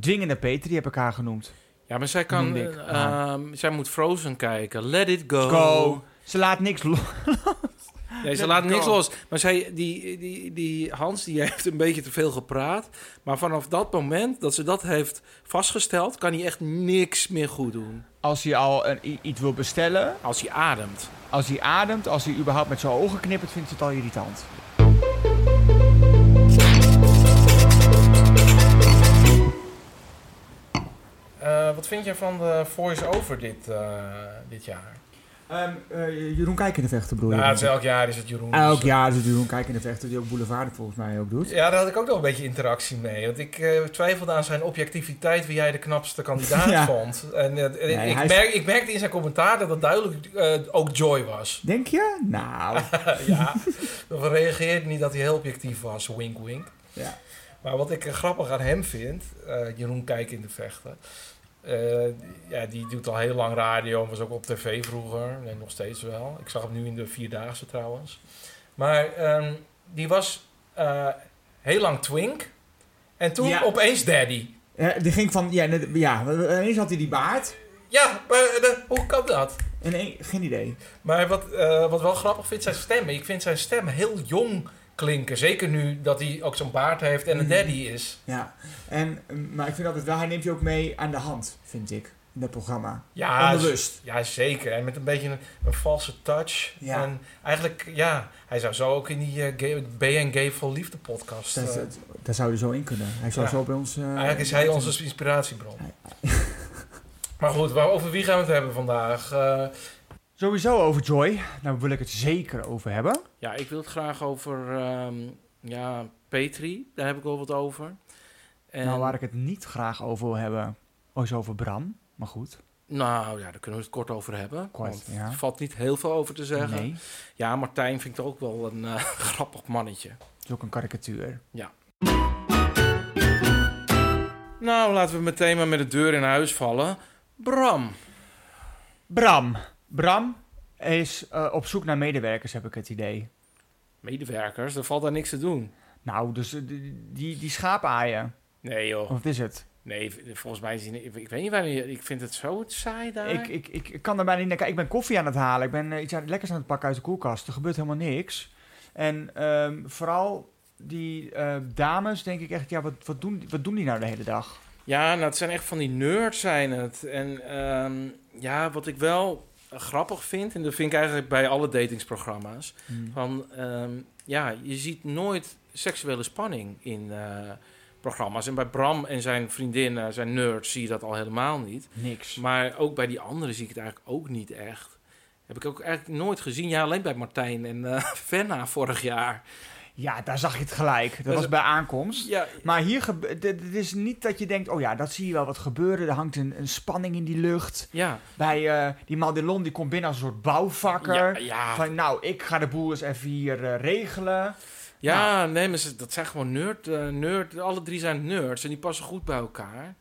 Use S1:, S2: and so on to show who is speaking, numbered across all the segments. S1: Dwingende Petri heb ik haar genoemd.
S2: Ja, maar zij kan...
S1: Noemde ik.
S2: eh,
S1: Ah.
S2: ehm, zij moet Frozen kijken. Let it go.
S1: Go. Ze laat niks los.
S2: Nee, ze
S1: Let
S2: laat
S1: it
S2: niks
S1: go.
S2: los. Maar zij, die, die, die Hans die heeft een beetje te veel gepraat. Maar vanaf dat moment dat ze dat heeft vastgesteld... kan hij echt niks meer goed doen.
S1: Als hij al een, i- iets wil bestellen,
S2: Als hij ademt.
S1: als hij ademt, als hij überhaupt met zijn ogen knippert, vindt ze het al irritant.
S2: Eh, wat vind je van de voice-over dit, eh, dit jaar?
S1: Ehm eh, Jeroen Kijk in de vechten, bedoel je?
S2: Nou, het is elk jaar is het Jeroen.
S1: Elk
S2: Dus, eh,
S1: jaar zit Jeroen Kijk in de vechten, die ook Boulevard volgens mij ook doet.
S2: Ja, daar had ik ook nog een beetje interactie mee. Want ik eh, twijfelde aan zijn objectiviteit wie jij de knapste kandidaat
S1: Ja.
S2: vond. En eh, eh,
S1: Nee, hij
S2: ik,
S1: is-
S2: merk, ik merkte in zijn commentaar dat dat duidelijk eh, ook Joy was.
S1: Denk je? Nou,
S2: ja, we reageerden niet dat hij heel objectief was. Wink, wink.
S1: ja.
S2: Maar wat ik eh, grappig aan hem vind, eh, Jeroen Kijk in de vechten. eh, ja, die doet al heel lang radio en was ook op tv vroeger. Nee, nog steeds wel. Ik zag hem nu in de Vierdaagse trouwens. Maar ehm, die was eh, heel lang twink. En toen
S1: Ja.
S2: opeens daddy.
S1: Ja, die ging van, ja, net- ja, ineens had hij die baard.
S2: Ja, maar eh, hoe kan dat?
S1: En een- geen idee.
S2: Maar wat, eh, wat wel grappig vind, zijn stem. Ik vind zijn stem heel jong klinken. Zeker nu dat hij ook zo'n baard heeft en een
S1: Mhm.
S2: daddy is.
S1: Ja. En, maar ik vind altijd wel, hij neemt je ook mee aan de hand, vind ik, in dat programma.
S2: Ja,
S1: Onbewust.
S2: Ja, zeker. En met een beetje een, een valse touch.
S1: Ja.
S2: En eigenlijk, ja, hij zou zo ook in die eh, gay, B en Gay voor Liefde podcast...
S1: Dat,
S2: eh,
S1: dat, daar zou hij zo in kunnen. Hij zou
S2: Ja.
S1: zo bij ons... eh,
S2: eigenlijk is hij onze inspiratiebron. maar goed, waar, over wie gaan we het hebben vandaag? Eh,
S1: Sowieso over Joy. Daar wil ik het zeker over hebben.
S2: ja, ik wil het graag over ehm, ja, Petri. Daar heb ik wel wat over.
S1: Nou, waar ik het niet graag over wil hebben, is over Bram. Maar goed.
S2: nou ja, daar kunnen we het kort over hebben.
S1: Kort,
S2: want
S1: ja.
S2: Er valt niet heel veel over te zeggen.
S1: Nee.
S2: Ja, Martijn vind ik ook wel een eh, grappig mannetje.
S1: Het is ook een karikatuur.
S2: Nou, laten we meteen maar met de deur in huis vallen. Bram.
S1: Bram. Bram is eh, op zoek naar medewerkers, heb ik het idee.
S2: Medewerkers, er valt daar niks te doen.
S1: Nou, dus eh, die, die, die schaapaaien.
S2: Nee joh,
S1: Of wat is het?
S2: nee, v- volgens mij is die- ik, ik weet niet wanneer, ik vind het zo saai daar.
S1: Ik, ik, ik, ik kan er bijna niet naar kijken. Ik ben koffie aan het halen. Ik ben eh, iets aan, lekkers aan het pakken uit de koelkast. Er gebeurt helemaal niks. En ehm, vooral die eh, dames, denk ik echt, ja, wat, wat, doen, wat doen die nou de hele dag?
S2: Ja, nou het zijn echt van die nerds zijn het. En ehm, ja, wat ik wel grappig vind, en dat vind ik eigenlijk bij alle datingsprogramma's, van ehm, ja, je ziet nooit seksuele spanning in eh, programma's. En bij Bram en zijn vriendin, eh, zijn nerds, zie je dat al helemaal niet.
S1: Niks.
S2: Maar ook bij die anderen zie ik het eigenlijk ook niet echt. Heb ik ook eigenlijk nooit gezien. Ja, alleen bij Martijn en eh Venna vorig jaar.
S1: Ja, daar zag je het gelijk. Dat
S2: is-
S1: was bij aankomst.
S2: Dus- Ja,
S1: Maar hier gebe- dit- dit is niet dat je denkt, oh ja, dat zie je wel wat gebeuren. Er hangt een, een spanning in die lucht.
S2: ja,
S1: Bij eh, die Madelon, die komt binnen als een soort bouwvakker.
S2: ja, ja,
S1: Van, nou, ik ga de boel eens even hier eh, regelen.
S2: ja nee, maar ze- dat zijn gewoon nerd, eh, nerd. Alle drie zijn nerds en die passen goed bij elkaar.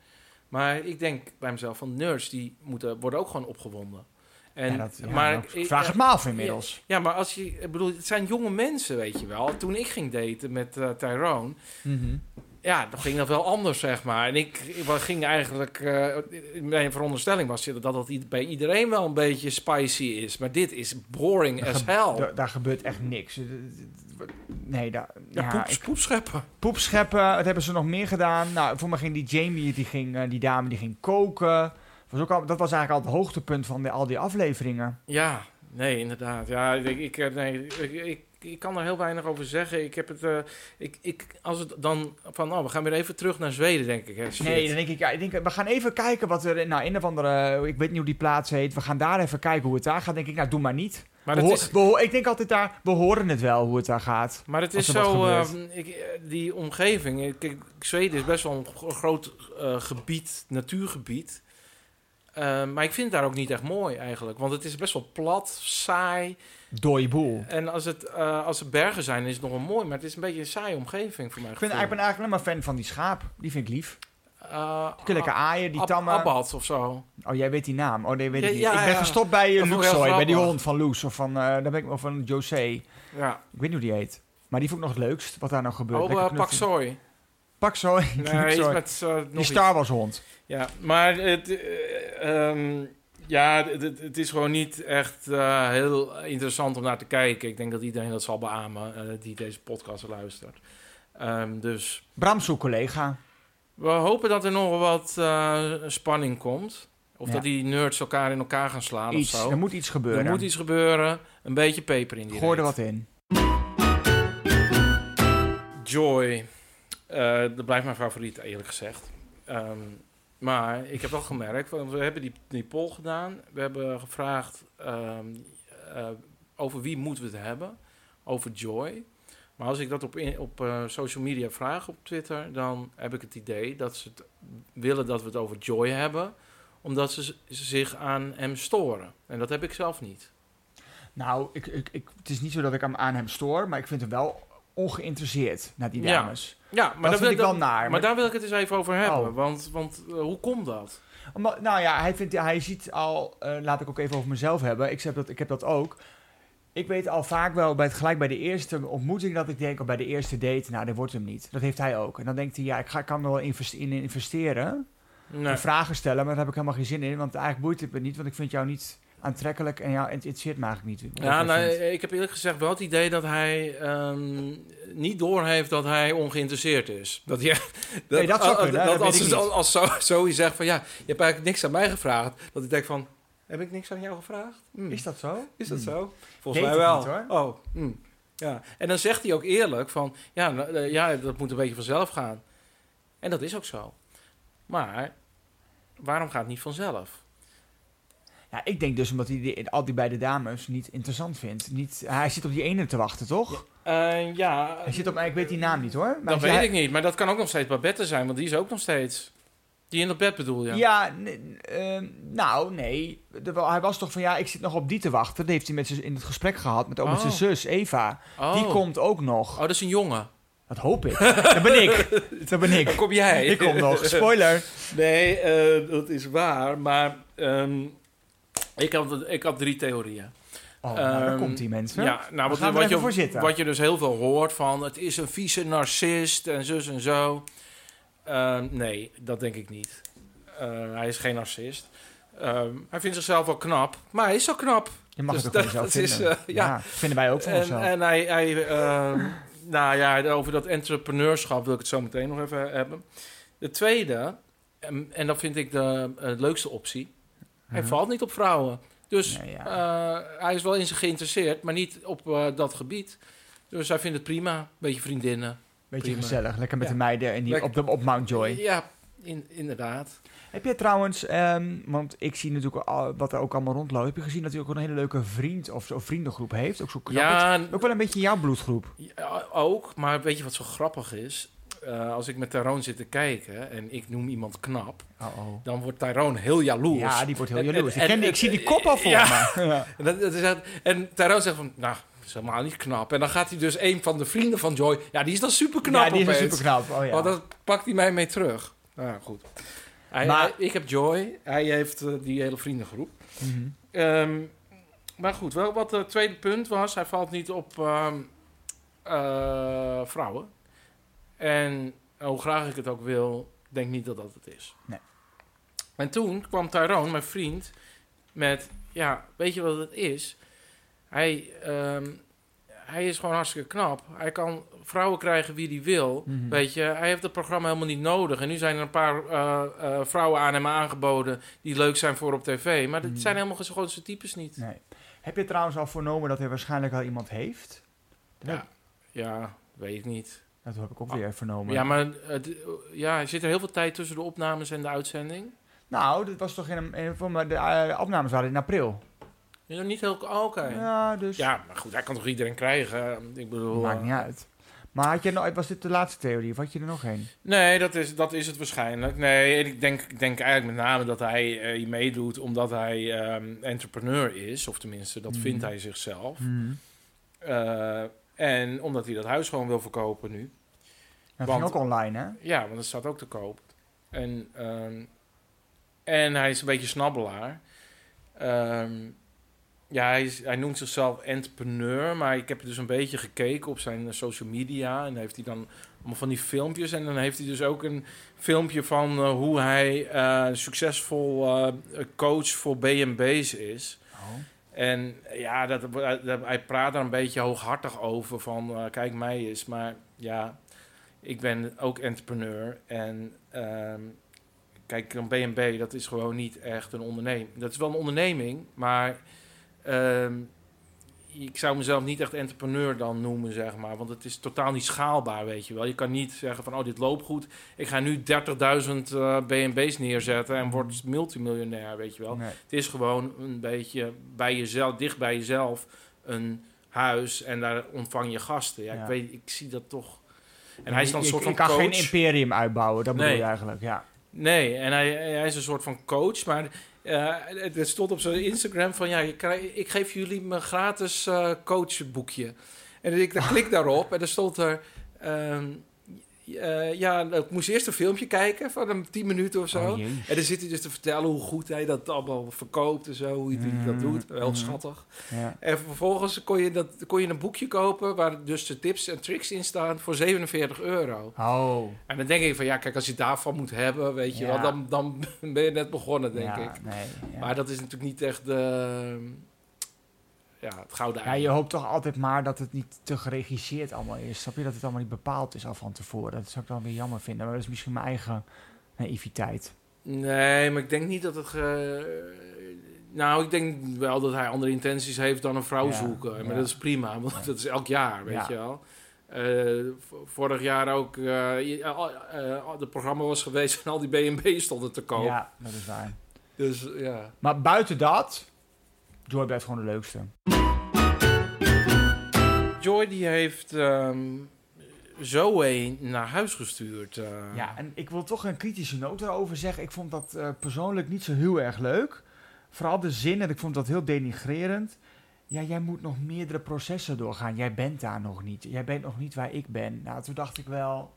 S2: Maar ik denk bij mezelf van nerds, die moeten, worden ook gewoon opgewonden. En,
S1: Ja, dat- ja,
S2: maar
S1: nou,
S2: ik-
S1: vraag
S2: eh,
S1: het me af inmiddels.
S2: Ja, maar als je, ik bedoel, het zijn jonge mensen, weet je wel. Toen ik ging daten met eh, Tyrone,
S1: Mhm.
S2: Ja, dan ging dat wel anders, zeg maar. En ik, ik wa- ging eigenlijk... eh, mijn veronderstelling was dat dat i- bij iedereen wel een beetje spicy is. Maar dit is boring
S1: Dat
S2: as
S1: ge-
S2: hell.
S1: Da- daar gebeurt echt niks. Eh, d- d- d- Nee, daar,
S2: ja,
S1: ja,
S2: poep,
S1: ik-
S2: poepscheppen.
S1: poep scheppen, dat hebben ze nog meer gedaan. Nou, voor mij ging die Jamie, die, ging, eh, die dame, die ging koken. Was ook al, dat was eigenlijk al het hoogtepunt van de, al die afleveringen.
S2: Ja, nee, inderdaad. Ja, ik, ik, eh, nee, ik, ik, ik kan er heel weinig over zeggen. Ik heb het... eh, ik, ik, als het dan van... Oh, we gaan weer even terug naar Zweden, denk ik. Hè, shit.
S1: Nee, dan denk ik, ja, ik denk, we gaan even kijken wat er... Nou, een of andere, ik weet niet hoe die plaats heet. We gaan daar even kijken hoe het daar gaat. denk ik, nou, doe maar niet.
S2: maar
S1: We
S2: dat
S1: hoor-
S2: is...
S1: we hoor- ik denk altijd daar, we horen het wel hoe het daar gaat.
S2: Maar het
S1: Als
S2: is
S1: er wat
S2: zo,
S1: gebeurt.
S2: eh, ik, eh, die omgeving. eh, Kijk, Zweden is best wel een gro- groot eh, gebied, natuurgebied. Eh, maar ik vind het daar ook niet echt mooi eigenlijk. Want het is best wel plat, saai.
S1: Dooi boel.
S2: En als, het, eh, als er bergen zijn, is het nog wel mooi. Maar het is een beetje een saaie omgeving voor mij.
S1: Ik, vind, ik ben eigenlijk alleen maar fan van die schaap. Die vind ik lief.
S2: Eh,
S1: Ik
S2: Ah,
S1: wil lekker aaien, die tamme.
S2: Abbad of zo.
S1: Oh, jij weet die naam. Oh, nee, weet
S2: Ja,
S1: ik niet.
S2: ja,
S1: ik ben
S2: ja.
S1: gestopt bij
S2: Dat
S1: uh,
S2: vond ik heel
S1: bij die
S2: grappig.
S1: hond van Loes of van, eh, daar ben ik, of van José. Ik
S2: Ja.
S1: weet niet hoe die heet. Maar die vond ik nog het leukst, wat daar nou gebeurt.
S2: Oh,
S1: Lekker
S2: eh, Pak
S1: knuffelen.
S2: Sooi.
S1: Pak zo een.
S2: Nee,
S1: zo
S2: iets
S1: een.
S2: met zo- nog
S1: die
S2: iets.
S1: Star Wars hond.
S2: Ja, maar het, eh, ehm, ja, het, het- het is gewoon niet echt eh, heel interessant om naar te kijken. Ik denk dat iedereen dat zal beamen eh, die deze podcast luistert. Ehm, dus
S1: Bram, zoek collega.
S2: we hopen dat er nog wat eh, spanning komt. Of
S1: Ja.
S2: dat die nerds elkaar in elkaar gaan slaan
S1: Iets.
S2: of zo.
S1: Er moet iets gebeuren.
S2: Er moet iets gebeuren. Een beetje peper in die
S1: Gooi er
S2: reet.
S1: wat in.
S2: Joy. Eh, dat blijft mijn favoriet, eerlijk gezegd. Ehm, maar ik heb wel gemerkt, want we hebben die, die poll gedaan. We hebben gevraagd ehm, eh, over wie moeten we het hebben. Over Joy. Maar als ik dat op, in- op eh, social media vraag, op Twitter, dan heb ik het idee dat ze het willen dat we het over Joy hebben. Omdat ze, z- ze zich aan hem storen. En dat heb ik zelf niet.
S1: Nou, ik, ik, ik, het is niet zo dat ik hem aan hem stoor, maar ik vind hem wel ongeïnteresseerd naar die
S2: Ja.
S1: dames.
S2: Ja,
S1: Maar dat
S2: wil
S1: vind ik wel naar.
S2: Maar,
S1: maar-
S2: daar wil ik het eens even over hebben.
S1: Oh.
S2: Want, want eh, hoe komt dat?
S1: Omdat- nou ja, hij, vindt, hij ziet al, eh, laat ik ook even over mezelf hebben. Ik heb, dat, ik heb dat ook. Ik weet al vaak wel, bij het, gelijk bij de eerste ontmoeting, dat ik denk, of bij de eerste date, nou, dat wordt hem niet. Dat heeft hij ook. En dan denkt hij, ja, ik, ga, ik kan er wel invest- in investeren,
S2: Nee.
S1: en vragen stellen, maar daar heb ik helemaal geen zin in. Want eigenlijk boeit het me niet, want ik vind jou niet aantrekkelijk en jou het interesseert me eigenlijk niet. wat
S2: Ja,
S1: jij
S2: nou,
S1: vindt.
S2: ik heb eerlijk gezegd wel het idee dat hij ehm, niet doorheeft dat hij ongeïnteresseerd is. Dat hij,
S1: Nee, dat zou
S2: eh,
S1: kunnen,
S2: dat
S1: dat
S2: als
S1: weet ik
S2: ze-
S1: niet.
S2: als zo, zoiets zegt van ja, je hebt eigenlijk niks aan mij gevraagd. Dat ik denk van, heb ik niks aan jou gevraagd? Hm,
S1: Is dat zo?
S2: is dat
S1: Hmm.
S2: zo? Volgens
S1: Weet
S2: mij wel.
S1: ik niet,
S2: Oh, hm, ja. En dan zegt hij ook eerlijk van ja, nou, eh, ja, dat moet een beetje vanzelf gaan. En dat is ook zo. Maar waarom gaat het niet vanzelf?
S1: Ja, ik denk dus omdat hij die, al die beide dames niet interessant vindt. Niet, hij zit op die ene te wachten, toch?
S2: Eh, ja,
S1: Hij zit op, ik weet die naam niet hoor. Maar
S2: dat
S1: hij-
S2: weet ik niet, maar dat kan ook nog steeds Babette zijn, want die is ook nog steeds. Die in dat bed bedoel je?
S1: Ja, n- ehm, nou nee. De- wel, hij was toch van ja, ik zit nog op die te wachten. Dat heeft hij met zijn- in het gesprek gehad met, ook met
S2: Oh.
S1: zijn zus Eva.
S2: oh.
S1: Die komt ook nog.
S2: Oh, dat is een jongen.
S1: Dat hoop ik. Dat ben ik. Dat ben
S2: Daar
S1: ik.
S2: kom jij.
S1: Ik kom nog. Spoiler.
S2: Nee, eh, dat is waar, maar ehm, ik, had, ik had drie theorieën.
S1: Oh, nou, daar
S2: Ehm,
S1: komt die mensen.
S2: Ja, nou, wat,
S1: gaan we er
S2: wat,
S1: even
S2: je,
S1: voor zitten.
S2: wat je dus heel veel hoort van... het is een vieze narcist en zus en zo. Ehm, nee, dat denk ik niet. Eh, hij is geen narcist. Ehm, hij vindt zichzelf wel knap, maar hij is zo knap.
S1: Je mag
S2: dus
S1: het ook
S2: dat-
S1: van jezelf
S2: dat is,
S1: vinden.
S2: eh, ja.
S1: ja. vinden wij ook van
S2: En, eh,
S1: onszelf.
S2: en hij, hij ehm, nou ja, over dat entrepreneurschap wil ik het zo meteen nog even hebben. De tweede, en, en dat vind ik de eh, leukste optie, hij
S1: Mhm.
S2: valt niet op vrouwen. Dus
S1: Nee, ja.
S2: eh, hij is wel in ze geïnteresseerd, maar niet op eh, dat gebied. Dus hij vindt het prima, beetje vriendinnen.
S1: Beetje
S2: prima.
S1: gezellig. Lekker met
S2: Ja.
S1: de meiden en die,
S2: Lekker.
S1: op, de, op Mount Joy.
S2: Ja, in, inderdaad.
S1: Heb je trouwens, ehm, want ik zie natuurlijk al, wat er ook allemaal rondloopt. Heb je gezien dat hij ook een hele leuke vriend of zo, vriendengroep heeft? Ook zo knap.
S2: Ja,
S1: Ook wel een beetje jouw bloedgroep.
S2: Ja, ook, maar weet je wat zo grappig is? Eh, als ik met Tyrone zit te kijken en ik noem iemand knap,
S1: Oh oh.
S2: dan wordt Tyrone heel jaloers.
S1: Ja, die wordt heel
S2: En-
S1: jaloers.
S2: en-
S1: Ik, ken die-
S2: en-
S1: ik zie die kop al voor
S2: Ja.
S1: me. Ja.
S2: En, dat, dat is echt- en Tyrone zegt van, nou, dat is helemaal niet knap. En dan gaat hij dus een van de vrienden van Joy, ja, die is dan super knap
S1: Ja, die is
S2: opeens.
S1: super knap. Oh, ja.
S2: Want dat pakt hij mij mee terug. Nou, ja, goed. Hij,
S1: Maar-
S2: hij- ik heb Joy, hij heeft eh, die hele vriendengroep.
S1: Mhm.
S2: Ehm, maar goed, wel wat het tweede punt was, hij valt niet op ehm, eh, vrouwen. En eh, hoe graag ik het ook wil, denk niet dat dat het is.
S1: Nee.
S2: En toen kwam Tyrone, mijn vriend, met, ja, weet je wat het is? Hij, ehm, hij is gewoon hartstikke knap. Hij kan vrouwen krijgen wie hij wil.
S1: Mhm.
S2: Weet je, hij heeft het programma helemaal niet nodig. En nu zijn er een paar eh, eh, vrouwen aan hem aangeboden die leuk zijn voor op tv. Maar dat
S1: Mm.
S2: zijn helemaal geen- gewoon zijn types niet.
S1: Nee. Heb je trouwens al vernomen dat hij waarschijnlijk al iemand heeft? Dat,
S2: Ja. Ja, weet ik niet.
S1: dat heb ik ook weer vernomen.
S2: Ja, maar eh, d- ja, er zit er heel veel tijd tussen de opnames en de uitzending.
S1: Nou, dat was toch in, een- in, voor me- de eh, opnames waren in april.
S2: Ja, niet heel... oh, Oké. Ja.
S1: Ja, dus
S2: maar goed, hij kan toch iedereen krijgen? Ik bedoel...
S1: maakt
S2: eh,
S1: niet uit. Maar had je nou, was dit de laatste theorie of had je er nog één?
S2: Nee, dat is, dat is het waarschijnlijk. Nee, en ik denk, ik denk eigenlijk met name dat hij eh, hier meedoet omdat hij ehm, entrepreneur is. Of tenminste, dat
S1: Mm.
S2: vindt hij zichzelf.
S1: Mhm.
S2: Eh, en omdat hij dat huis gewoon wil verkopen nu.
S1: Dat
S2: Want-
S1: ging ook online, hè?
S2: Ja, want het staat ook te koop. En, ehm, en hij is een beetje snabbelaar. Ehm, ja, hij, is, hij noemt zichzelf entrepreneur. Maar ik heb dus een beetje gekeken op zijn eh, social media. En heeft hij dan allemaal van die filmpjes. En dan heeft hij dus ook een filmpje van eh, hoe hij eh, succesvol eh, coach voor BNB's is.
S1: Oh.
S2: En ja, dat, dat- hij praat daar een beetje hooghartig over van eh, kijk mij eens. Maar ja, ik ben ook entrepreneur. En ehm, kijk, een BNB, dat is gewoon niet echt een onderneming. Dat is wel een onderneming, maar ehm, ik zou mezelf niet echt entrepreneur dan noemen, zeg maar. Want het is totaal niet schaalbaar, weet je wel. Je kan niet zeggen van, oh, dit loopt goed. Ik ga nu 30.000 eh, BNB's neerzetten en word multimiljonair, weet je wel.
S1: Nee.
S2: Het is gewoon een beetje bij jezelf, dicht bij jezelf, een huis en daar ontvang je gasten. Ja,
S1: Ja.
S2: Ik, weet, ik zie dat toch. En hij is dan een
S1: Ik-
S2: soort van
S1: Ik kan
S2: coach.
S1: geen imperium uitbouwen, dat bedoel
S2: Nee.
S1: je eigenlijk, ja.
S2: nee, en hij, hij is een soort van coach, maar eh, het het stond op zijn Instagram van ja, je krijg- ik geef jullie mijn gratis eh, coachboekje. En ik klik daarop en er stond er. ehm, eh, ja, ik moest eerst een filmpje kijken van een 10 minuten of zo.
S1: Oh, jee.
S2: En dan zit hij dus te vertellen hoe goed hij dat allemaal verkoopt en zo, hoe hij
S1: Mm,
S2: dat doet. Wel
S1: mm.
S2: schattig.
S1: ja.
S2: En vervolgens kon je, dat, kon je een boekje kopen waar dus de tips en tricks in staan voor 47 euro.
S1: Oh,
S2: En dan denk ik van ja, kijk, als je daarvan moet hebben, weet je
S1: Ja.
S2: wel, dan, dan ben je net begonnen, denk
S1: ja,
S2: ik.
S1: Nee, ja.
S2: Maar dat is natuurlijk niet echt de, ja, het gouden
S1: Ja,
S2: ei.
S1: je hoopt toch altijd maar dat het niet te geregisseerd allemaal is. Snap je dat het allemaal niet bepaald is al van tevoren? Dat zou ik dan weer jammer vinden. Maar dat is misschien mijn eigen naïviteit.
S2: Nee, maar ik denk niet dat het. ge- Nou, ik denk wel dat hij andere intenties heeft dan een vrouw
S1: Ja,
S2: zoeken. Maar
S1: ja.
S2: dat is prima, want
S1: Ja.
S2: dat is elk jaar, weet
S1: Ja.
S2: je wel. Eh, v- vorig jaar ook, eh, je- al- eh, al- het programma was geweest en al die BNB stonden te koop.
S1: Ja, dat is waar.
S2: Dus ja.
S1: Maar buiten dat, Joy blijft gewoon de leukste.
S2: Joy die heeft ehm, Zoe naar huis gestuurd. eh.
S1: Ja, en ik wil toch een kritische noot daarover zeggen. Ik vond dat eh, persoonlijk niet zo heel erg leuk. Vooral de zin, en ik vond dat heel denigrerend. Ja, jij moet nog meerdere processen doorgaan. Jij bent daar nog niet. Jij bent nog niet waar ik ben. Nou, toen dacht ik wel...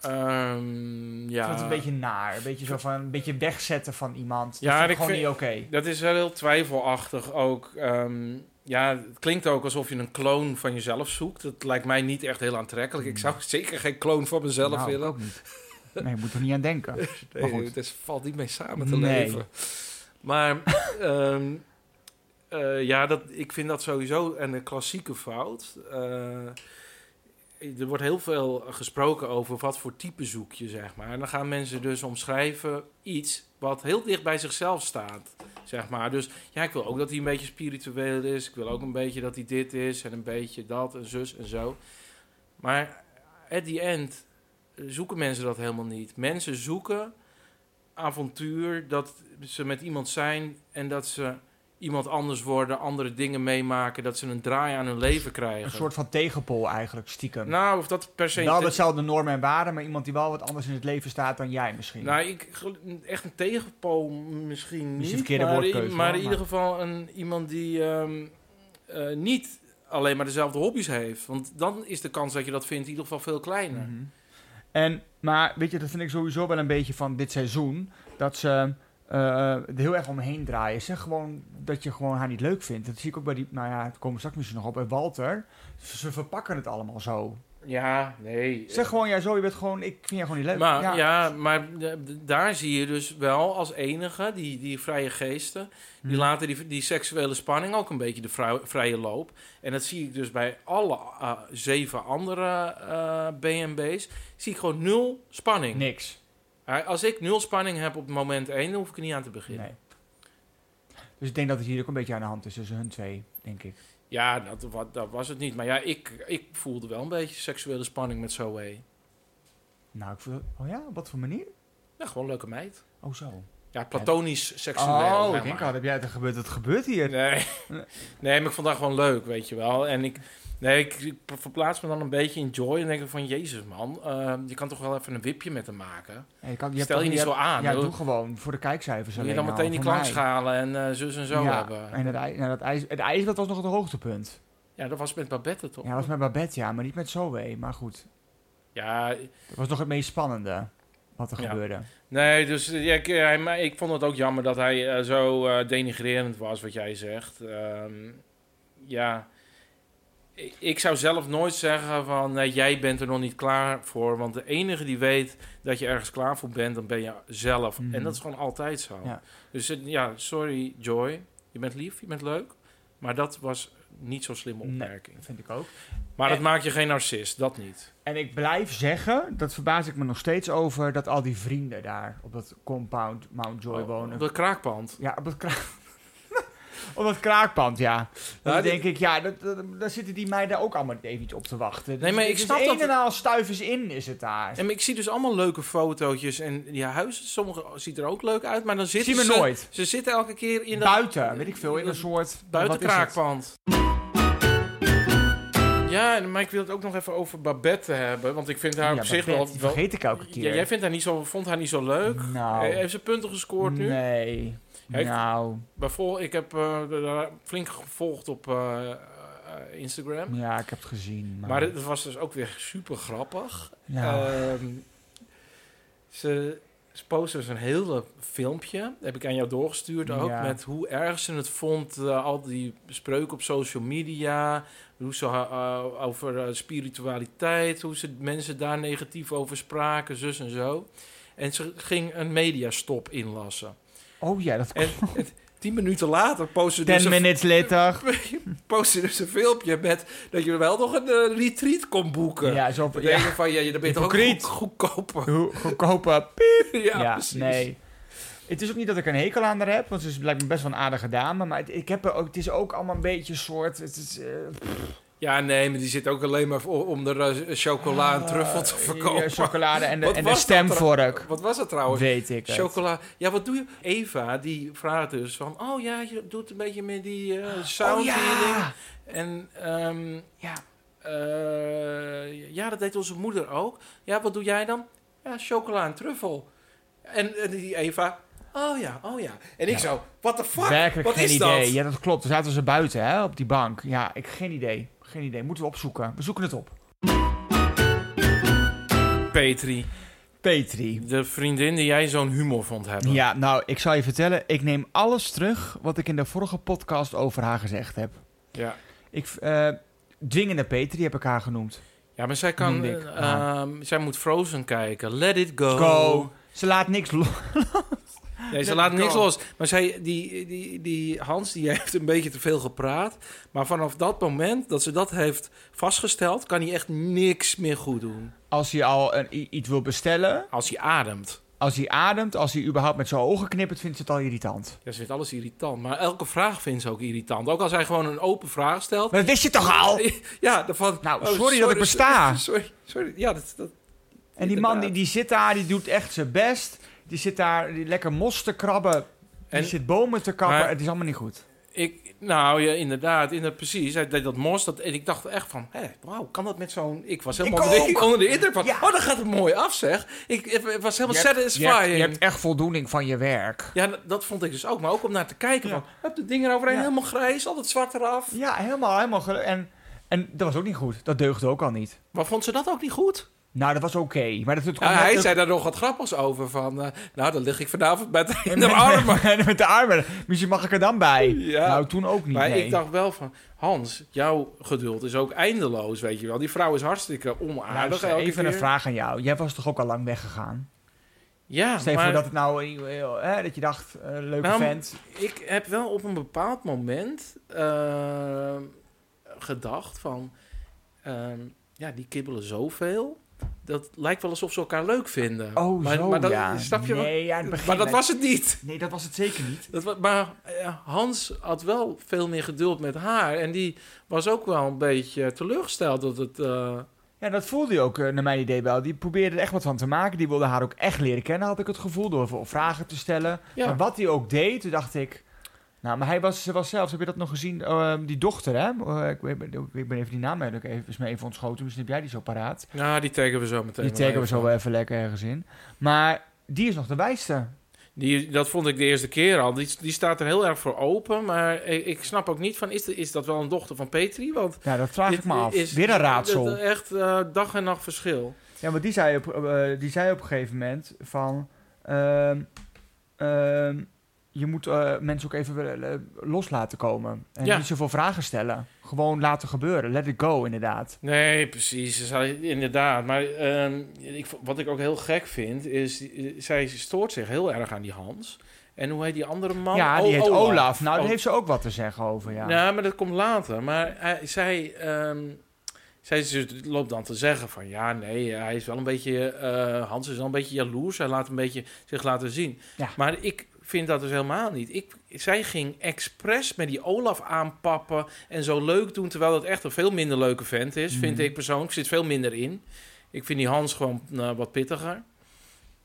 S2: Ehm,
S1: Ik
S2: ja.
S1: vond het een beetje naar. Een beetje, zo van, een beetje wegzetten van iemand.
S2: Ja,
S1: Ja, dat
S2: en
S1: is
S2: ik
S1: gewoon
S2: vind-
S1: niet oké.
S2: Dat is wel heel twijfelachtig ook. Ehm, ja, het klinkt ook alsof je een kloon van jezelf zoekt. Dat lijkt mij niet echt heel aantrekkelijk. Ik zou zeker geen kloon van mezelf
S1: Hmm. Nou,
S2: willen.
S1: ook niet. Nee, je moet er niet aan denken. maar
S2: Nee,
S1: goed.
S2: het is, valt niet mee samen te
S1: Nee.
S2: leven. Maar ehm, eh, ja, dat, ik vind dat sowieso een klassieke fout. Eh, er wordt heel veel gesproken over wat voor type zoek je, zeg maar. En dan gaan mensen dus omschrijven iets wat heel dicht bij zichzelf staat, zeg maar. Dus ja, ik wil ook dat hij een beetje spiritueel is. Ik wil ook een beetje dat hij dit is en een beetje dat en zus en zo. Maar at the end zoeken mensen dat helemaal niet. Mensen zoeken avontuur, dat ze met iemand zijn en dat ze iemand anders worden, andere dingen meemaken, dat ze een draai aan hun leven krijgen.
S1: Een soort van tegenpol eigenlijk, stiekem.
S2: Nou, of dat per se...
S1: wel dezelfde normen en waarden, maar iemand die wel wat anders in het leven staat dan jij misschien.
S2: Nou, ik, gel- echt een tegenpool misschien niet.
S1: Misschien verkeerde
S2: maar, in-
S1: woordkeuze,
S2: maar
S1: hoor,
S2: in ieder geval een, iemand die ehm, eh, niet alleen maar dezelfde hobby's heeft. Want dan is de kans dat je dat vindt in ieder geval veel kleiner.
S1: Mhm. En, maar weet je, dat vind ik sowieso wel een beetje van dit seizoen. Dat ze eh, er heel erg omheen draaien. Zeg gewoon dat je gewoon haar niet leuk vindt. Dat zie ik ook bij die, nou ja, het komen we straks misschien nog op. Bij Walter, ze ze verpakken het allemaal zo.
S2: Ja, nee.
S1: Zeg eh, gewoon, ja zo, je bent gewoon, ik vind jou gewoon niet leuk.
S2: Maar, ja. maar d- d- daar zie je dus wel als enige, die, die vrije geesten, die
S1: Hm.
S2: laten die, die seksuele spanning ook een beetje de vrou- vrije loop. En dat zie ik dus bij alle eh, zeven andere eh BNB's, zie ik gewoon nul spanning.
S1: Niks.
S2: Maar Als ik nul spanning heb op moment 1, dan hoef ik er niet aan te beginnen.
S1: Nee. Dus ik denk dat het hier ook een beetje aan de hand is tussen hun twee, denk ik.
S2: Ja, dat, wa- dat was het niet. Maar ja, ik, ik voelde wel een beetje seksuele spanning met Zoe.
S1: Nou, ik voel, oh ja, op wat voor manier?
S2: Ja, gewoon leuke meid.
S1: Oh zo.
S2: Ja, platonisch seksueel.
S1: Oh,
S2: zeg
S1: ik denk
S2: maar.
S1: al, heb jij het er gebeurd? Het gebeurt hier.
S2: Nee. nee, maar ik vond dat gewoon leuk, weet je wel. En ik, nee, ik, ik verplaats me dan een beetje in Joy en denk ik van... Jezus, man, eh, je kan toch wel even een wipje met hem maken?
S1: Ja, je kan, je hebt
S2: Stel
S1: toch
S2: je niet
S1: hebt-
S2: zo aan.
S1: Ja,
S2: hoor.
S1: doe gewoon voor de kijkcijfers.
S2: Moet je
S1: alleen
S2: dan
S1: al,
S2: meteen die
S1: voor mij.
S2: klankschalen en eh, zus en zo
S1: ja,
S2: hebben?
S1: En het, ij- nou, dat ijs, het ijs dat was nog het hoogtepunt.
S2: Ja, dat was met Babette, toch?
S1: Ja, dat was met Babette, ja, maar niet met Zoe. Maar goed,
S2: ja
S1: dat was nog het meest spannende wat er
S2: Ja.
S1: gebeurde.
S2: Nee, dus eh, ja, ik, hij- maar ik vond het ook jammer dat hij eh, zo eh, denigrerend was, wat jij zegt. Ehm, ja, ik- ik zou zelf nooit zeggen van nee, jij bent er nog niet klaar voor. Want de enige die weet dat je ergens klaar voor bent, dan ben je zelf.
S1: Mhm.
S2: En dat is gewoon altijd zo.
S1: Ja.
S2: Dus het- ja, sorry Joy, je bent lief, je bent leuk. Maar dat was niet zo'n slimme
S1: Nee.
S2: opmerking.
S1: Dat vind ik ook.
S2: Maar dat
S1: En-
S2: maakt je geen narcist, dat niet.
S1: En ik blijf zeggen, dat verbaas ik me nog steeds over, dat al die vrienden daar op dat compound Mount Joy wonen.
S2: Op dat Oh, kraakpand.
S1: Ja, op dat, kra- op dat kraakpand, ja. Dan
S2: Ja, dit-
S1: denk ik, ja, dat, dat- daar zitten die meiden ook allemaal eventjes op te wachten.
S2: Nee, maar
S1: Dus het
S2: ik
S1: is
S2: snap
S1: een
S2: dat-
S1: en al stuivers in is het daar.
S2: En ik zie dus allemaal leuke fotootjes en die huizen, sommige ziet er ook leuk uit, maar dan
S1: Ik
S2: zitten
S1: zie me
S2: ze...
S1: nooit.
S2: Ze zitten elke keer in dat...
S1: Buiten, weet ik veel, in een
S2: dat-
S1: soort...
S2: Buiten
S1: wat is het?
S2: kraakpand. Ja, en- maar ik wil het ook nog even over Babette hebben. Want ik vind haar
S1: Ja,
S2: op
S1: maar
S2: zich wel...
S1: Bert, die
S2: wel-
S1: vergeet ik elke keer.
S2: ja, jij vindt haar niet zo, vond haar niet zo leuk.
S1: Nou,
S2: Eh, Heeft ze punten gescoord nu?
S1: Nee.
S2: Ja, ik-
S1: nou,
S2: Bijvoorbeeld, ik heb eh, haar flink gevolgd op eh, eh, Instagram.
S1: ja, ik heb het gezien. Maar,
S2: Maar het was dus ook weer super grappig.
S1: ja.
S2: Ehm, ze, ze postte dus een hele filmpje. Heb ik aan jou doorgestuurd ook.
S1: Ja.
S2: Met hoe erg ze het vond. eh, al die spreuken op social media. Hoe ze ha- eh, over eh, spiritualiteit. Hoe ze mensen daar negatief over spraken. Zus en zo. En ze ging een mediastop inlassen.
S1: oh ja, dat
S2: En het- tien minuten later postte ze
S1: Ten
S2: dus een
S1: minutes later.
S2: postte dus een filmpje met dat je wel nog een eh, retreat kon boeken.
S1: Ja, zo
S2: Dan
S1: ja.
S2: denk je van, ja, dan ben je toch ook
S1: Hypocriet.
S2: goed- goedkoper.
S1: Hoe- goedkope
S2: eh, ja,
S1: Ja,
S2: precies.
S1: nee. Het is ook niet dat ik een hekel aan haar heb, want ze is blijkbaar best wel een aardige dame. Maar het, ik heb er ook, het is ook allemaal een beetje een soort. Het is, eh,
S2: Ja, nee, maar die zit ook alleen maar voor- om de eh, chocola en truffel te
S1: eh,
S2: verkopen.
S1: ja, chocolade en de,
S2: Wat
S1: en de
S2: was dat Nou,
S1: stemvork.
S2: Wat was dat trouwens?
S1: Weet ik. het.
S2: Chocola. Ja, wat doe je? Eva, die vraagt dus van... Oh ja, je doet een beetje met die eh sound
S1: Oh
S2: healing.
S1: ja!
S2: En ehm,
S1: ja!
S2: Eh, ja, dat deed onze moeder ook. Ja, wat doe jij dan? Ja, chocola en truffel. En, en die Eva, oh ja, oh ja. En ik
S1: Ja.
S2: zo, what the fuck?
S1: Werkelijk
S2: wat
S1: geen
S2: is
S1: idee.
S2: dat?
S1: Ja, dat klopt. Toen zaten ze buiten hè, op die bank. Ja, ik geen idee. Geen idee. Moeten we opzoeken. We zoeken het op.
S2: Petri,
S1: Petri.
S2: de vriendin die jij zo'n humor vond hebben.
S1: Ja, nou, ik zal je vertellen. Ik neem alles terug wat ik in de vorige podcast over haar gezegd heb.
S2: ja.
S1: Ik, eh, dwingende Petri heb ik haar genoemd.
S2: Ja, maar zij kan,
S1: Noemde ik.
S2: eh, ehm, zij moet Frozen kijken. Let it
S1: Oh.
S2: go.
S1: Go. Ze laat niks los.
S2: Nee, ze
S1: Let
S2: laat
S1: it
S2: niks
S1: go.
S2: los. Maar zij, die, die, die Hans, die heeft een beetje te veel gepraat. Maar vanaf dat moment dat ze dat heeft vastgesteld, kan hij echt niks meer goed doen.
S1: Als hij al een, i- iets wil bestellen,
S2: Als hij ademt.
S1: als hij ademt, als hij überhaupt met zijn ogen knippert, vindt ze het al irritant.
S2: Ja, ze vindt alles irritant. Maar elke vraag vindt ze ook irritant. Ook als hij gewoon een open vraag stelt.
S1: Maar dat wist je toch al?
S2: Ja, dan van...
S1: Nou,
S2: oh,
S1: sorry, dat ik besta.
S2: Sorry, sorry. Ja, dat... dat
S1: En die man die,
S2: inderdaad.
S1: die zit daar, die doet echt zijn best. Die zit daar die lekker mos te krabben. Die
S2: En-
S1: zit bomen te kappen.
S2: maar-
S1: het is allemaal niet goed.
S2: Ik, nou ja, inderdaad, inderdaad, precies. Hij deed dat mos. Dat, en ik dacht echt van, hé, wauw, kan dat met zo'n... Ik was helemaal
S1: Ik
S2: onder,
S1: ook.
S2: de, onder de indruk van,
S1: Ja.
S2: oh, dat gaat het mooi af, zeg. Ik, ik was helemaal
S1: je, hebt,
S2: satisfying.
S1: je hebt echt voldoening van je werk.
S2: Ja, dat- dat vond ik dus ook. Maar ook om naar te kijken
S1: Ja.
S2: van, heb de dingen eroverheen,
S1: Ja.
S2: helemaal grijs, al het zwart eraf.
S1: Ja, helemaal, helemaal. gelu- En, en dat was ook niet goed. Dat deugde ook al niet.
S2: Maar vond ze dat ook niet goed?
S1: Nou, dat was oké. Maar dat, dat
S2: Ja,
S1: kwam net-
S2: hij
S1: dat-
S2: zei daar nog wat grappigs over. Van, eh, nou, dan lig ik vanavond met in
S1: met,
S2: de armen.
S1: Met, met de armen. Misschien mag ik er dan bij.
S2: Ja.
S1: Nou, toen ook niet.
S2: Maar
S1: nee.
S2: ik dacht wel van, Hans, jouw geduld is ook eindeloos, weet je wel. Die vrouw is hartstikke onaardig.
S1: Luister,
S2: elke
S1: even
S2: keer.
S1: een vraag aan jou. Jij was toch ook al lang weggegaan?
S2: Ja,
S1: Stel je
S2: maar
S1: voor dat het nou... eh, eh, dat je dacht, eh, leuke
S2: Nou,
S1: vent.
S2: ik heb wel op een bepaald moment eh, gedacht van, ehm, ja, die kibbelen zoveel. Dat lijkt wel alsof ze elkaar leuk vinden.
S1: Oh,
S2: maar,
S1: zo,
S2: maar dat,
S1: ja.
S2: Snap je
S1: nee, ja, in het
S2: wat?
S1: begin
S2: Maar dat
S1: lijkt-
S2: was het niet.
S1: Nee, dat was het zeker niet.
S2: Dat wa- maar eh, Hans had wel veel meer geduld met haar. En die was ook wel een beetje teleurgesteld dat het. eh,
S1: Ja, dat voelde je ook, eh, naar mijn idee wel. Die probeerde er echt wat van te maken. Die wilde haar ook echt leren kennen, had ik het gevoel. Door veel vragen te stellen.
S2: ja.
S1: Maar wat hij ook deed, toen dacht ik... Nou, maar hij was, ze was zelfs, heb je dat nog gezien? Eh, die dochter, hè? Eh, ik, weet- ik ben even die naam eigenlijk even, is me even ontschoten. Misschien heb jij die zo paraat.
S2: Nou, die taggen we zo
S1: Die
S2: meteen. wel
S1: taggen we
S2: even.
S1: zo wel even lekker ergens in. Maar die is nog de wijste.
S2: Die, dat vond ik de eerste keer al. Die, die staat er heel erg voor open. Maar ik, ik snap ook niet van: is, de- is dat wel een dochter van Petri? Want.
S1: Ja, dat vraag
S2: dit
S1: ik me af.
S2: is-
S1: Weer een
S2: dit-
S1: raadsel.
S2: dit- Echt eh, dag en nacht verschil.
S1: Ja, want die zei op, eh, die zei op een gegeven moment van... ehm, ehm, je moet eh, mensen ook even eh, los laten komen. En
S2: Ja.
S1: niet zoveel vragen stellen. Gewoon laten gebeuren. Let it go, inderdaad.
S2: Nee, precies. Ze zei- Inderdaad. Maar ehm, ik, v- wat ik ook heel gek vind, is... eh, Zij stoort zich heel erg aan die Hans. En hoe heet die andere man? Oh,
S1: ja, die
S2: O-
S1: heet Olaf. Nou, daar
S2: O-
S1: heeft ze ook wat te zeggen over, ja.
S2: Ja, Nou, maar dat komt later. Maar hij- zij, ehm, zij ze- loopt dan te zeggen van... Ja, nee, hij is wel een beetje... eh, Hans is wel een beetje jaloers. Hij laat een beetje zich laten zien.
S1: Ja.
S2: Maar ik vind dat dus helemaal niet. Ik, zij ging expres met die Olaf aanpappen... en zo leuk doen... terwijl dat echt een veel minder leuke vent is... vind
S1: Mhm.
S2: ik persoonlijk. Zit veel minder in. Ik vind die Hans gewoon eh, wat pittiger.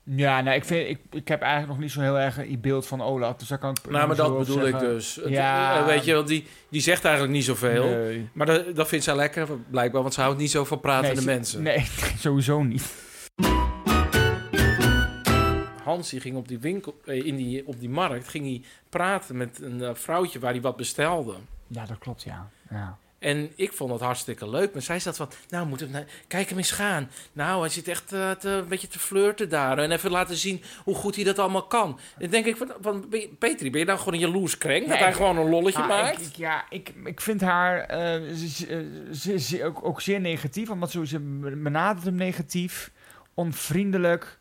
S1: Ja, nou, ik, vind, ik, ik heb eigenlijk nog niet zo heel erg een beeld van Olaf. Dus daar kan ik dus
S2: Nou, maar
S1: zo
S2: dat
S1: over
S2: bedoel ik
S1: zeggen.
S2: dus. Het-
S1: Ja.
S2: eh, weet je, want die, die zegt eigenlijk niet zoveel...
S1: Nee.
S2: Maar dat, dat vindt zij lekker, blijkbaar, want ze houdt niet zo van pratende
S1: Nee, ze-
S2: mensen.
S1: Nee, sowieso niet.
S2: Hans die ging op die, winkel, eh, in die, op die markt ging hij praten met een eh, vrouwtje waar hij wat bestelde.
S1: Ja, dat klopt, ja. ja.
S2: En ik vond dat hartstikke leuk. Maar zij zat van, nou, moet hem, nou, kijk hem eens gaan. Nou, hij zit echt eh, te- een beetje te flirten daar. En even laten zien hoe goed hij dat allemaal kan. Dan denk ik, van, van, ben je- Petri, ben je nou gewoon een jaloers krenk? dat
S1: Nee,
S2: hij
S1: ik-
S2: gewoon een lolletje
S1: Ah,
S2: maakt?
S1: Ik, ik- ja, ik, ik vind haar eh, ze- ze- ze- ze- ook, ook zeer negatief. Want zo, ze benadert hem negatief. Onvriendelijk.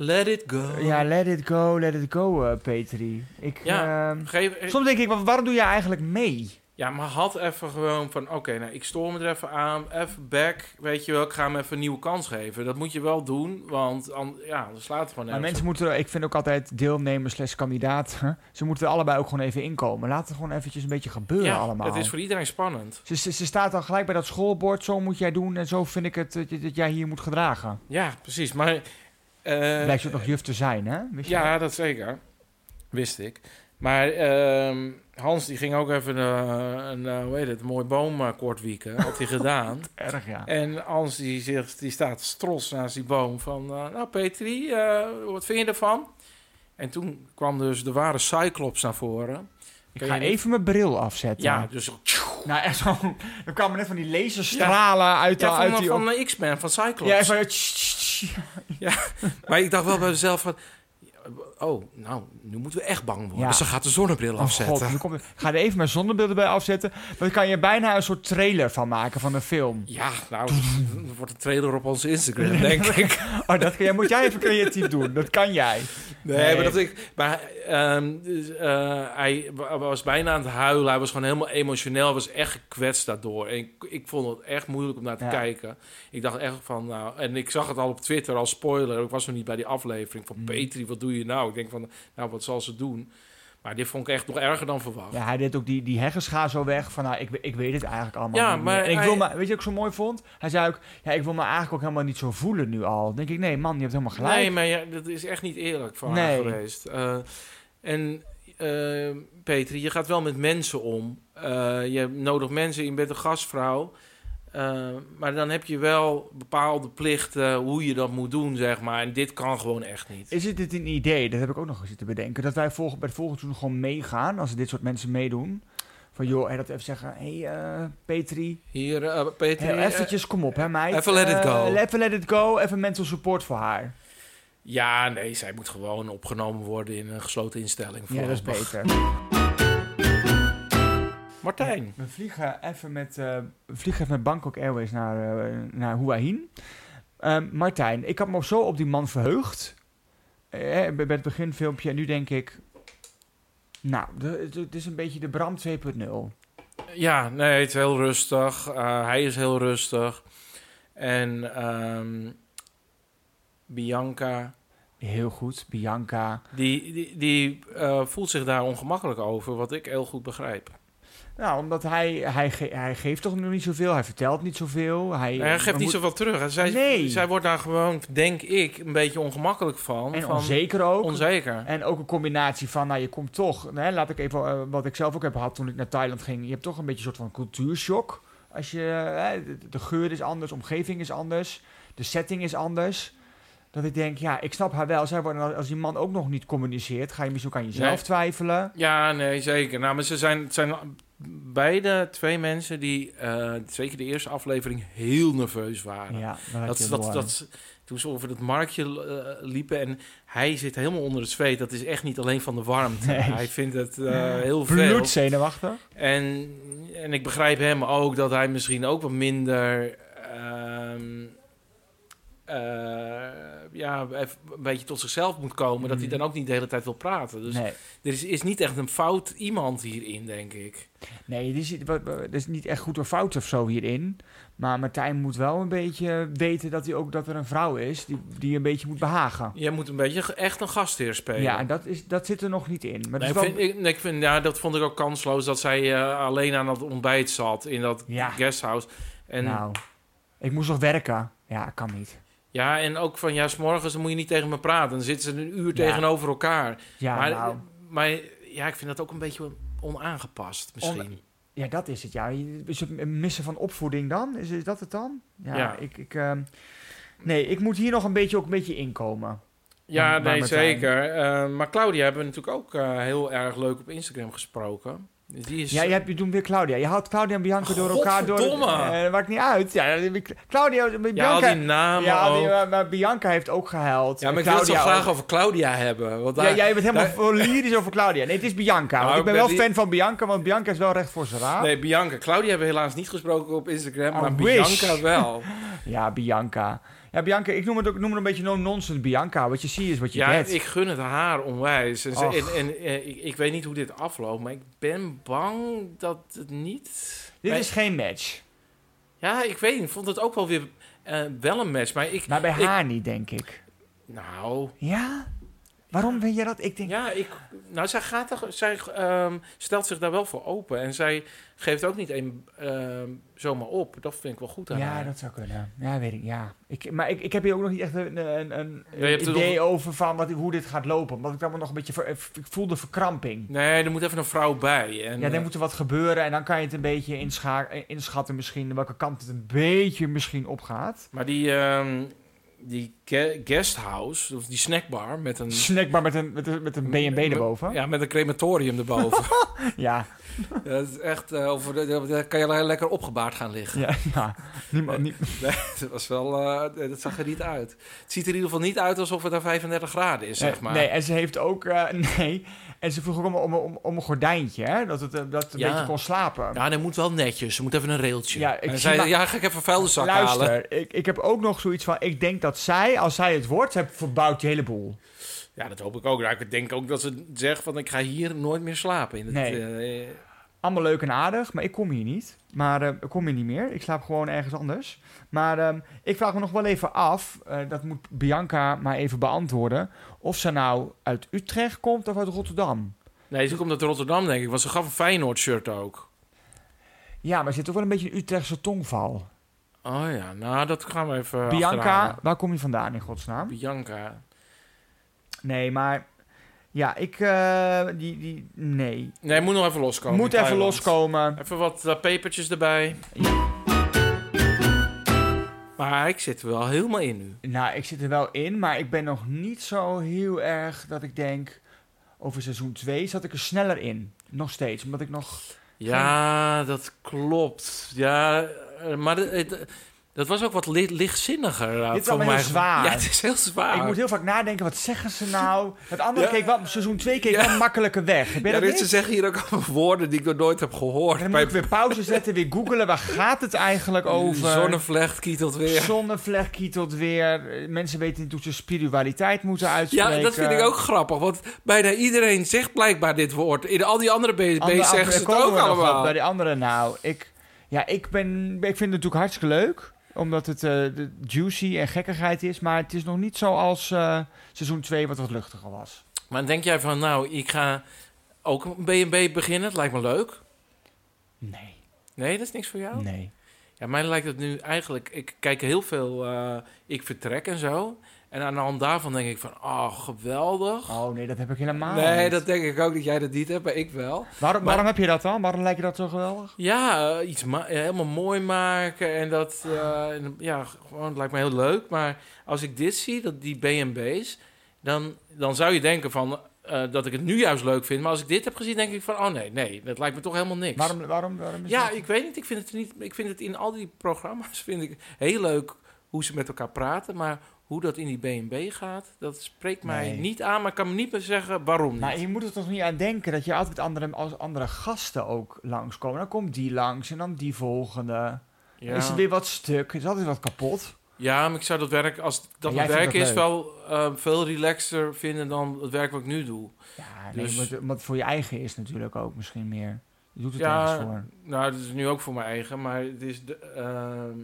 S2: Let it go.
S1: Ja, let it go, let it go, eh, Petri. Ik,
S2: Ja.
S1: ehm,
S2: Geef,
S1: soms denk ik, wa- waarom doe je eigenlijk mee?
S2: Ja, maar had even gewoon van... Oké, nou, ik stoor me er even aan. Even back. Weet je wel, ik ga hem even een nieuwe kans geven. Dat moet je wel doen, want an- ja, dan slaat het gewoon
S1: maar
S2: nergens
S1: mensen moeten, ik vind ook altijd deelnemers slash kandidaten... ze moeten er allebei ook gewoon even inkomen. Laat het gewoon eventjes een beetje
S2: op.
S1: gebeuren
S2: ja,
S1: allemaal.
S2: het is voor iedereen spannend.
S1: ze, ze, ze staat dan gelijk bij dat schoolbord, zo moet jij doen... en zo vind ik het dat, je- dat jij hier moet gedragen.
S2: Ja, precies. Maar... eh,
S1: Blijkt ze ook nog juf te zijn, hè? Wist je dat?
S2: ja, dat zeker. Wist ik. Maar ehm, Hans die ging ook even eh, een, eh, hoe heet het, een mooi boom eh, kort wieken. Had hij gedaan.
S1: Erg, ja.
S2: En Hans die, zegt, die staat stros naast die boom van... eh, nou Petri, eh, wat vind je ervan? En toen kwam dus de ware Cyclops naar voren.
S1: Ik
S2: Ken
S1: ga
S2: je dit?
S1: even mijn bril afzetten.
S2: Ja, dus
S1: Nou, echt zo. Er kwamen net van die laserstralen uit,
S2: ja,
S1: ja,
S2: van,
S1: uit die...
S2: van de X-Men, van Cyclops.
S1: ja, even... tss, tss, tss.
S2: Maar ik dacht wel bij mezelf van... Oh, nou, nu moeten we echt bang worden.
S1: Ja.
S2: Ze gaat de zonnebril
S1: Oh,
S2: afzetten.
S1: God, nu komt het- ik ga er even mijn zonnebeelden bij afzetten. Dan kan je bijna een soort trailer van maken van een film.
S2: Ja, nou, er wordt een trailer op onze Instagram, denk ik.
S1: Oh, dat kun jij, moet jij even creatief doen. Dat kan jij.
S2: Nee,
S1: Nee.
S2: maar dat ik... Maar ehm, dus, eh, hij wa- was bijna aan het huilen. Hij was gewoon helemaal emotioneel. Hij was echt gekwetst daardoor. En ik, ik vond het echt moeilijk om naar te
S1: Ja.
S2: kijken. Ik dacht echt van... Nou, en ik zag het al op Twitter als spoiler. Ik was nog niet bij die aflevering van...
S1: Mm.
S2: Petri, wat doe je nou? Ik denk van... Nou, wat zal ze doen? Maar dit vond ik echt nog erger dan verwacht.
S1: Ja, hij deed ook die, die heggenschaar zo weg. Van, nou, ik, ik weet het eigenlijk allemaal
S2: Ja,
S1: niet meer.
S2: maar
S1: En ik
S2: hij-
S1: wil me, weet je wat ik zo mooi vond? Hij zei ook, ja, ik wil me eigenlijk ook helemaal niet zo voelen nu al. Dan denk ik, nee man, je hebt helemaal gelijk.
S2: Nee, maar ja, dat is echt niet eerlijk van haar
S1: Nee.
S2: geweest. Eh, en eh Petri, je gaat wel met mensen om. Eh, je hebt nodig mensen, je bent een gastvrouw. Eh, maar dan heb je wel bepaalde plichten hoe je dat moet doen, zeg maar. En dit kan gewoon echt niet.
S1: Is het dit een idee, dat heb ik ook nog eens zitten bedenken, dat wij volg- bij het volgende seizoen gewoon meegaan als er dit soort mensen meedoen? Van joh, en dat even zeggen, hé hey, eh, Petri,
S2: Hier, eh, Petri.
S1: hey,
S2: eh,
S1: eventjes, kom op hè meid.
S2: even let it
S1: Eh,
S2: go.
S1: even let it go, even mental support voor haar.
S2: ja, nee, zij moet gewoon opgenomen worden in een gesloten instelling.
S1: Ja, dat is
S2: voorlopig.
S1: beter.
S2: Martijn.
S1: We vliegen even met, eh, we vliegen even met Bangkok Airways naar, eh naar Hua Hin. Ehm, Martijn, ik had me zo op die man verheugd. Eh, bij bij het beginfilmpje. En nu denk ik... Nou, de- de- het is een beetje de Bram 2.0.
S2: Ja, nee, het is heel rustig. Eh, hij is heel rustig. En ehm, Bianca,
S1: Heel goed, Bianca.
S2: die, die, die eh, voelt zich daar ongemakkelijk over, wat ik heel goed begrijp.
S1: Nou, omdat hij, hij, ge- hij geeft toch nog niet zoveel, hij vertelt niet zoveel. Hij,
S2: hij geeft
S1: we
S2: niet
S1: moet-
S2: zoveel terug. En Zij,
S1: Nee.
S2: zij wordt daar gewoon, denk ik, een beetje ongemakkelijk van.
S1: En
S2: van
S1: onzeker ook.
S2: onzeker.
S1: En ook een combinatie van, nou je komt toch, hè, laat ik even eh, wat ik zelf ook heb gehad toen ik naar Thailand ging. Je hebt toch een beetje een soort van cultuurshock. Als je, hè, de, de geur is anders, de omgeving is anders, de setting is anders. Dat ik denk, ja, ik snap haar wel. Zij wordt, als die man ook nog niet communiceert, ga je misschien ook aan jezelf
S2: Nee.
S1: twijfelen.
S2: Ja, nee, zeker. Nou, maar ze zijn, het zijn beide twee mensen die, eh, zeker de eerste aflevering, heel nerveus waren.
S1: Ja, dat, had
S2: Dat,
S1: je
S2: dat,
S1: door.
S2: dat, Toen ze over het marktje eh, liepen en hij zit helemaal onder het zweet. Dat is echt niet alleen van de warmte.
S1: Nee.
S2: Hij vindt het eh, heel veel.
S1: Bloedzenuwachtig.
S2: En, en ik begrijp hem ook dat hij misschien ook wat minder. ehm, eh, ja, even een beetje tot zichzelf moet komen. Dat hij
S1: Mm.
S2: dan ook niet de hele tijd wil praten. Dus
S1: nee.
S2: er is, is niet echt een fout iemand hierin, denk ik.
S1: Nee, dit is, wat- wat- dit is niet echt goed of fout of zo hierin. Maar Martijn moet wel een beetje weten dat, hij ook, dat er een vrouw is die, die een beetje moet behagen.
S2: Jij moet een beetje ge- echt een gastheer spelen.
S1: Ja, en dat, is, dat zit er nog niet in. Maar
S2: Nee,
S1: dat
S2: ik
S1: is wel-
S2: vind, ik, nee, ik vind, ja, dat vond ik ook kansloos dat zij eh, alleen aan het ontbijt zat in dat
S1: Ja.
S2: guesthouse. En,
S1: Nou, ik moest nog werken. Ja, kan niet.
S2: ja, en ook van ja, 's morgens dan moet je niet tegen me praten. Dan zitten ze een uur
S1: Ja.
S2: tegenover elkaar.
S1: Ja,
S2: maar,
S1: nou,
S2: maar ja, ik vind dat ook een beetje onaangepast misschien.
S1: ja, dat is het. Ja. Is het een missen van opvoeding dan? Is, is dat het dan? Ja,
S2: Ja.
S1: Ik, ik, ehm, nee, ik moet hier nog een beetje, ook een beetje inkomen.
S2: ja,
S1: Maar- maar
S2: nee,
S1: Martijn-
S2: zeker. Eh, maar Claudia hebben we natuurlijk ook eh, heel erg leuk op Instagram gesproken. Dus Die is,
S1: Ja, je, hebt, je doet weer Claudia. Je haalt Claudia en Bianca door elkaar. door.
S2: Godverdomme!
S1: Eh, maakt niet uit. Ja, Claudia, Bianca...
S2: ja, al die namen
S1: Ja,
S2: ook.
S1: die- maar, maar Bianca heeft ook gehuild.
S2: ja, maar ik wil
S1: Claudia
S2: het zo graag
S1: ook.
S2: over Claudia hebben. Want
S1: Ja,
S2: daar,
S1: jij bent helemaal
S2: daar-
S1: voor lyrisch over Claudia. Nee, het is Bianca.
S2: Nou,
S1: want ik
S2: ik
S1: ben
S2: ben
S1: wel
S2: li-
S1: fan van Bianca, want Bianca is wel recht voor zijn raad.
S2: Nee, Bianca. Claudia hebben we helaas niet gesproken op Instagram,
S1: Ah? I
S2: maar
S1: wish.
S2: Bianca wel.
S1: Ja, Bianca. Ja, Bianca, ik noem het ook ik noem het een beetje no-nonsense Bianca. Wat je ziet is wat je
S2: ja,
S1: hebt.
S2: ik gun het haar onwijs. En, ze-
S1: Och.
S2: en, en, eh, ik, ik weet niet hoe dit afloopt, maar ik ben bang dat het niet...
S1: Dit
S2: Wij-
S1: is geen match.
S2: Ja, ik weet niet. Ik vond het ook wel weer eh, wel een match. Maar ik...
S1: Maar bij
S2: ik-
S1: haar niet, denk ik.
S2: Nou...
S1: Ja? Waarom vind je dat? Ik denk...
S2: Ja, ik, nou, zij, gaat er, zij ehm, stelt zich daar wel voor open. En zij geeft ook niet een, ehm, zomaar op. Dat vind ik wel goed aan
S1: Ja,
S2: haar.
S1: dat zou kunnen. Ja, weet ik. Ja. Ik, maar ik, ik heb hier ook nog niet echt een, een, een
S2: Ja, je hebt er
S1: idee over van wat, hoe dit gaat lopen. Omdat ik allemaal nog een beetje... ver- eh, ik voelde verkramping.
S2: Nee, er moet even een vrouw bij. En,
S1: Ja,
S2: eh,
S1: dan moet er wat gebeuren en dan kan je het een beetje inscha- eh, inschatten misschien... welke kant het een beetje misschien opgaat.
S2: Maar die, ehm die ge- guesthouse, of die snackbar met een...
S1: Snack maar met een, met een, met een B&B erboven.
S2: Mm. Ja, met een crematorium erboven.
S1: Ja,
S2: dat is echt, eh, over de- daar kan je le- lekker opgebaard gaan liggen.
S1: ja, ja. Niemand, niet,
S2: dat, was wel, eh, dat zag er niet uit. Het ziet er in ieder geval niet uit alsof het daar 35 graden is, zeg
S1: Eh,
S2: maar.
S1: Nee, en ze heeft ook... eh, nee, en ze vroeg ook om, om, om, om een gordijntje, hè? Dat het, eh, dat het een
S2: Ja.
S1: beetje kon slapen.
S2: Ja, dat moet wel netjes. Ze moet even een railtje.
S1: Ja, ik
S2: en
S1: zie
S2: zei,
S1: maar-
S2: ja, ga ik even vuilniszak halen.
S1: Luister, ik, ik heb ook nog zoiets van... Ik denk dat zij, als zij het wordt, heb, verbouwt die hele boel.
S2: Ja, dat hoop ik ook. Nou, ik denk ook dat ze zegt van, ik ga hier nooit meer slapen. In het,
S1: Nee.
S2: eh, eh,
S1: Allemaal leuk en aardig, maar ik kom hier niet. Maar eh, ik kom hier niet meer. Ik slaap gewoon ergens anders. Maar ehm, ik vraag me nog wel even af... eh, dat moet Bianca maar even beantwoorden... of ze nou uit Utrecht komt of uit Rotterdam.
S2: nee, ze komt uit Rotterdam, denk ik. Want ze gaf een Feyenoord-shirt ook.
S1: Ja, maar ze heeft ook wel een beetje een Utrechtse tongval.
S2: Oh ja, nou, dat gaan we even
S1: Bianca,
S2: achterhalen.
S1: waar kom je vandaan in godsnaam?
S2: Bianca.
S1: Nee, maar ja, ik. eh, die, die, nee.
S2: Nee, moet nog even loskomen.
S1: Moet
S2: in
S1: even
S2: Thailand.
S1: loskomen.
S2: Even wat eh, pepertjes erbij. Maar ik zit er wel helemaal in nu.
S1: Nou, ik zit er wel in, maar ik ben nog niet zo heel erg dat ik denk. Over seizoen 2 zat ik er sneller in. Nog steeds, omdat ik nog.
S2: Ja, dat klopt. Ja, eh, maar de- het- dat was ook wat li- lichtzinniger. eh,
S1: Dit is
S2: voor
S1: allemaal
S2: mij.
S1: heel zwaar.
S2: Ja, het is heel zwaar.
S1: Ik moet heel vaak nadenken, wat zeggen ze nou? Het andere
S2: Ja.
S1: keek wel, seizoen 2 keek
S2: Ja.
S1: wel makkelijker weg. Ik ben
S2: ja,
S1: dat
S2: dit- ze
S1: niet?
S2: zeggen hier ook allemaal woorden die ik nog nooit heb gehoord.
S1: Dan moet
S2: Bij
S1: ik weer pauze zetten, weer googelen. Waar gaat het eigenlijk over?
S2: Zonnevlecht kietelt weer.
S1: Zonnevlek kietelt weer. Eh, Mensen weten niet hoe ze spiritualiteit moeten uitspreken.
S2: Ja, dat vind ik ook grappig. Want bijna iedereen zegt blijkbaar dit woord. In al die andere
S1: Andere-
S2: BSB's
S1: andere-
S2: zeggen ze het
S1: komen
S2: ook
S1: we nog op
S2: allemaal.
S1: Bij de anderen nou. Ik, ja, ik, ben, ik vind het natuurlijk hartstikke leuk. Omdat het eh, de juicy en gekkigheid is. Maar het is nog niet zoals eh, seizoen 2 wat wat luchtiger was.
S2: Maar denk jij van, nou, ik ga ook een B&B beginnen. Het lijkt me leuk.
S1: Nee.
S2: Nee, dat is niks voor jou?
S1: Nee.
S2: Ja, mij lijkt het nu eigenlijk... Ik kijk heel veel eh, Ik Vertrek en zo. En aan de hand daarvan denk ik van, oh, geweldig.
S1: Oh nee, dat heb ik helemaal
S2: nee,
S1: niet.
S2: dat denk ik ook dat jij dat niet hebt, maar ik wel.
S1: Waarom,
S2: maar-
S1: waarom heb je dat dan? Waarom lijkt je dat zo geweldig?
S2: Ja, eh, iets ma- eh, helemaal mooi maken en dat... eh, en, ja, gewoon, het lijkt me heel leuk. Maar als ik dit zie, dat die B&B's... Dan, dan zou je denken van, eh, dat ik het nu juist leuk vind. Maar als ik dit heb gezien, denk ik van, oh nee, nee, dat lijkt me toch helemaal niks.
S1: Waarom, waarom, waarom is
S2: Ja,
S1: dat?
S2: ik weet niet. Ik vind het niet. Ik vind het in al die programma's vind ik heel leuk hoe ze met elkaar praten, maar Hoe dat in die BNB gaat, dat spreekt mij
S1: Nee.
S2: niet aan, maar ik kan me niet meer zeggen waarom niet.
S1: Maar je moet er toch niet aan denken dat je altijd andere, als andere gasten ook langskomen. Dan komt die langs en dan die volgende.
S2: ja.
S1: Is er weer wat stuk? Is altijd wat kapot?
S2: ja, maar ik zou dat werk, als dat
S1: En
S2: mijn
S1: jij vindt
S2: werk
S1: dat
S2: is,
S1: leuk.
S2: wel eh, veel relaxer vinden dan het werk wat ik nu doe.
S1: Ja,
S2: Dus-
S1: nee, maar wat voor je eigen is natuurlijk ook misschien meer. Je doet het
S2: Ja.
S1: ergens voor.
S2: Nou, dat is nu ook voor mijn eigen, maar het is, de, ehm,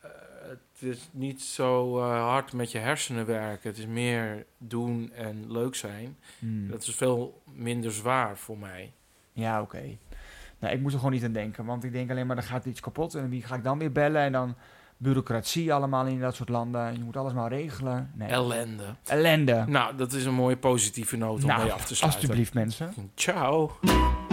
S2: eh, het is niet zo eh, hard met je hersenen werken. Het is meer doen en leuk zijn.
S1: Hmm.
S2: Dat is veel minder zwaar voor mij.
S1: Ja, oké. Nou, ik moet er gewoon niet aan denken, want ik denk alleen maar, er gaat iets kapot en wie ga ik dan weer bellen? En dan bureaucratie allemaal in dat soort landen. En je moet alles maar regelen. Nee.
S2: Ellende.
S1: Ellende.
S2: Nou, dat is een mooie positieve noot om
S1: Nou,
S2: mee af te sluiten.
S1: Alsjeblieft, mensen.
S2: Ciao.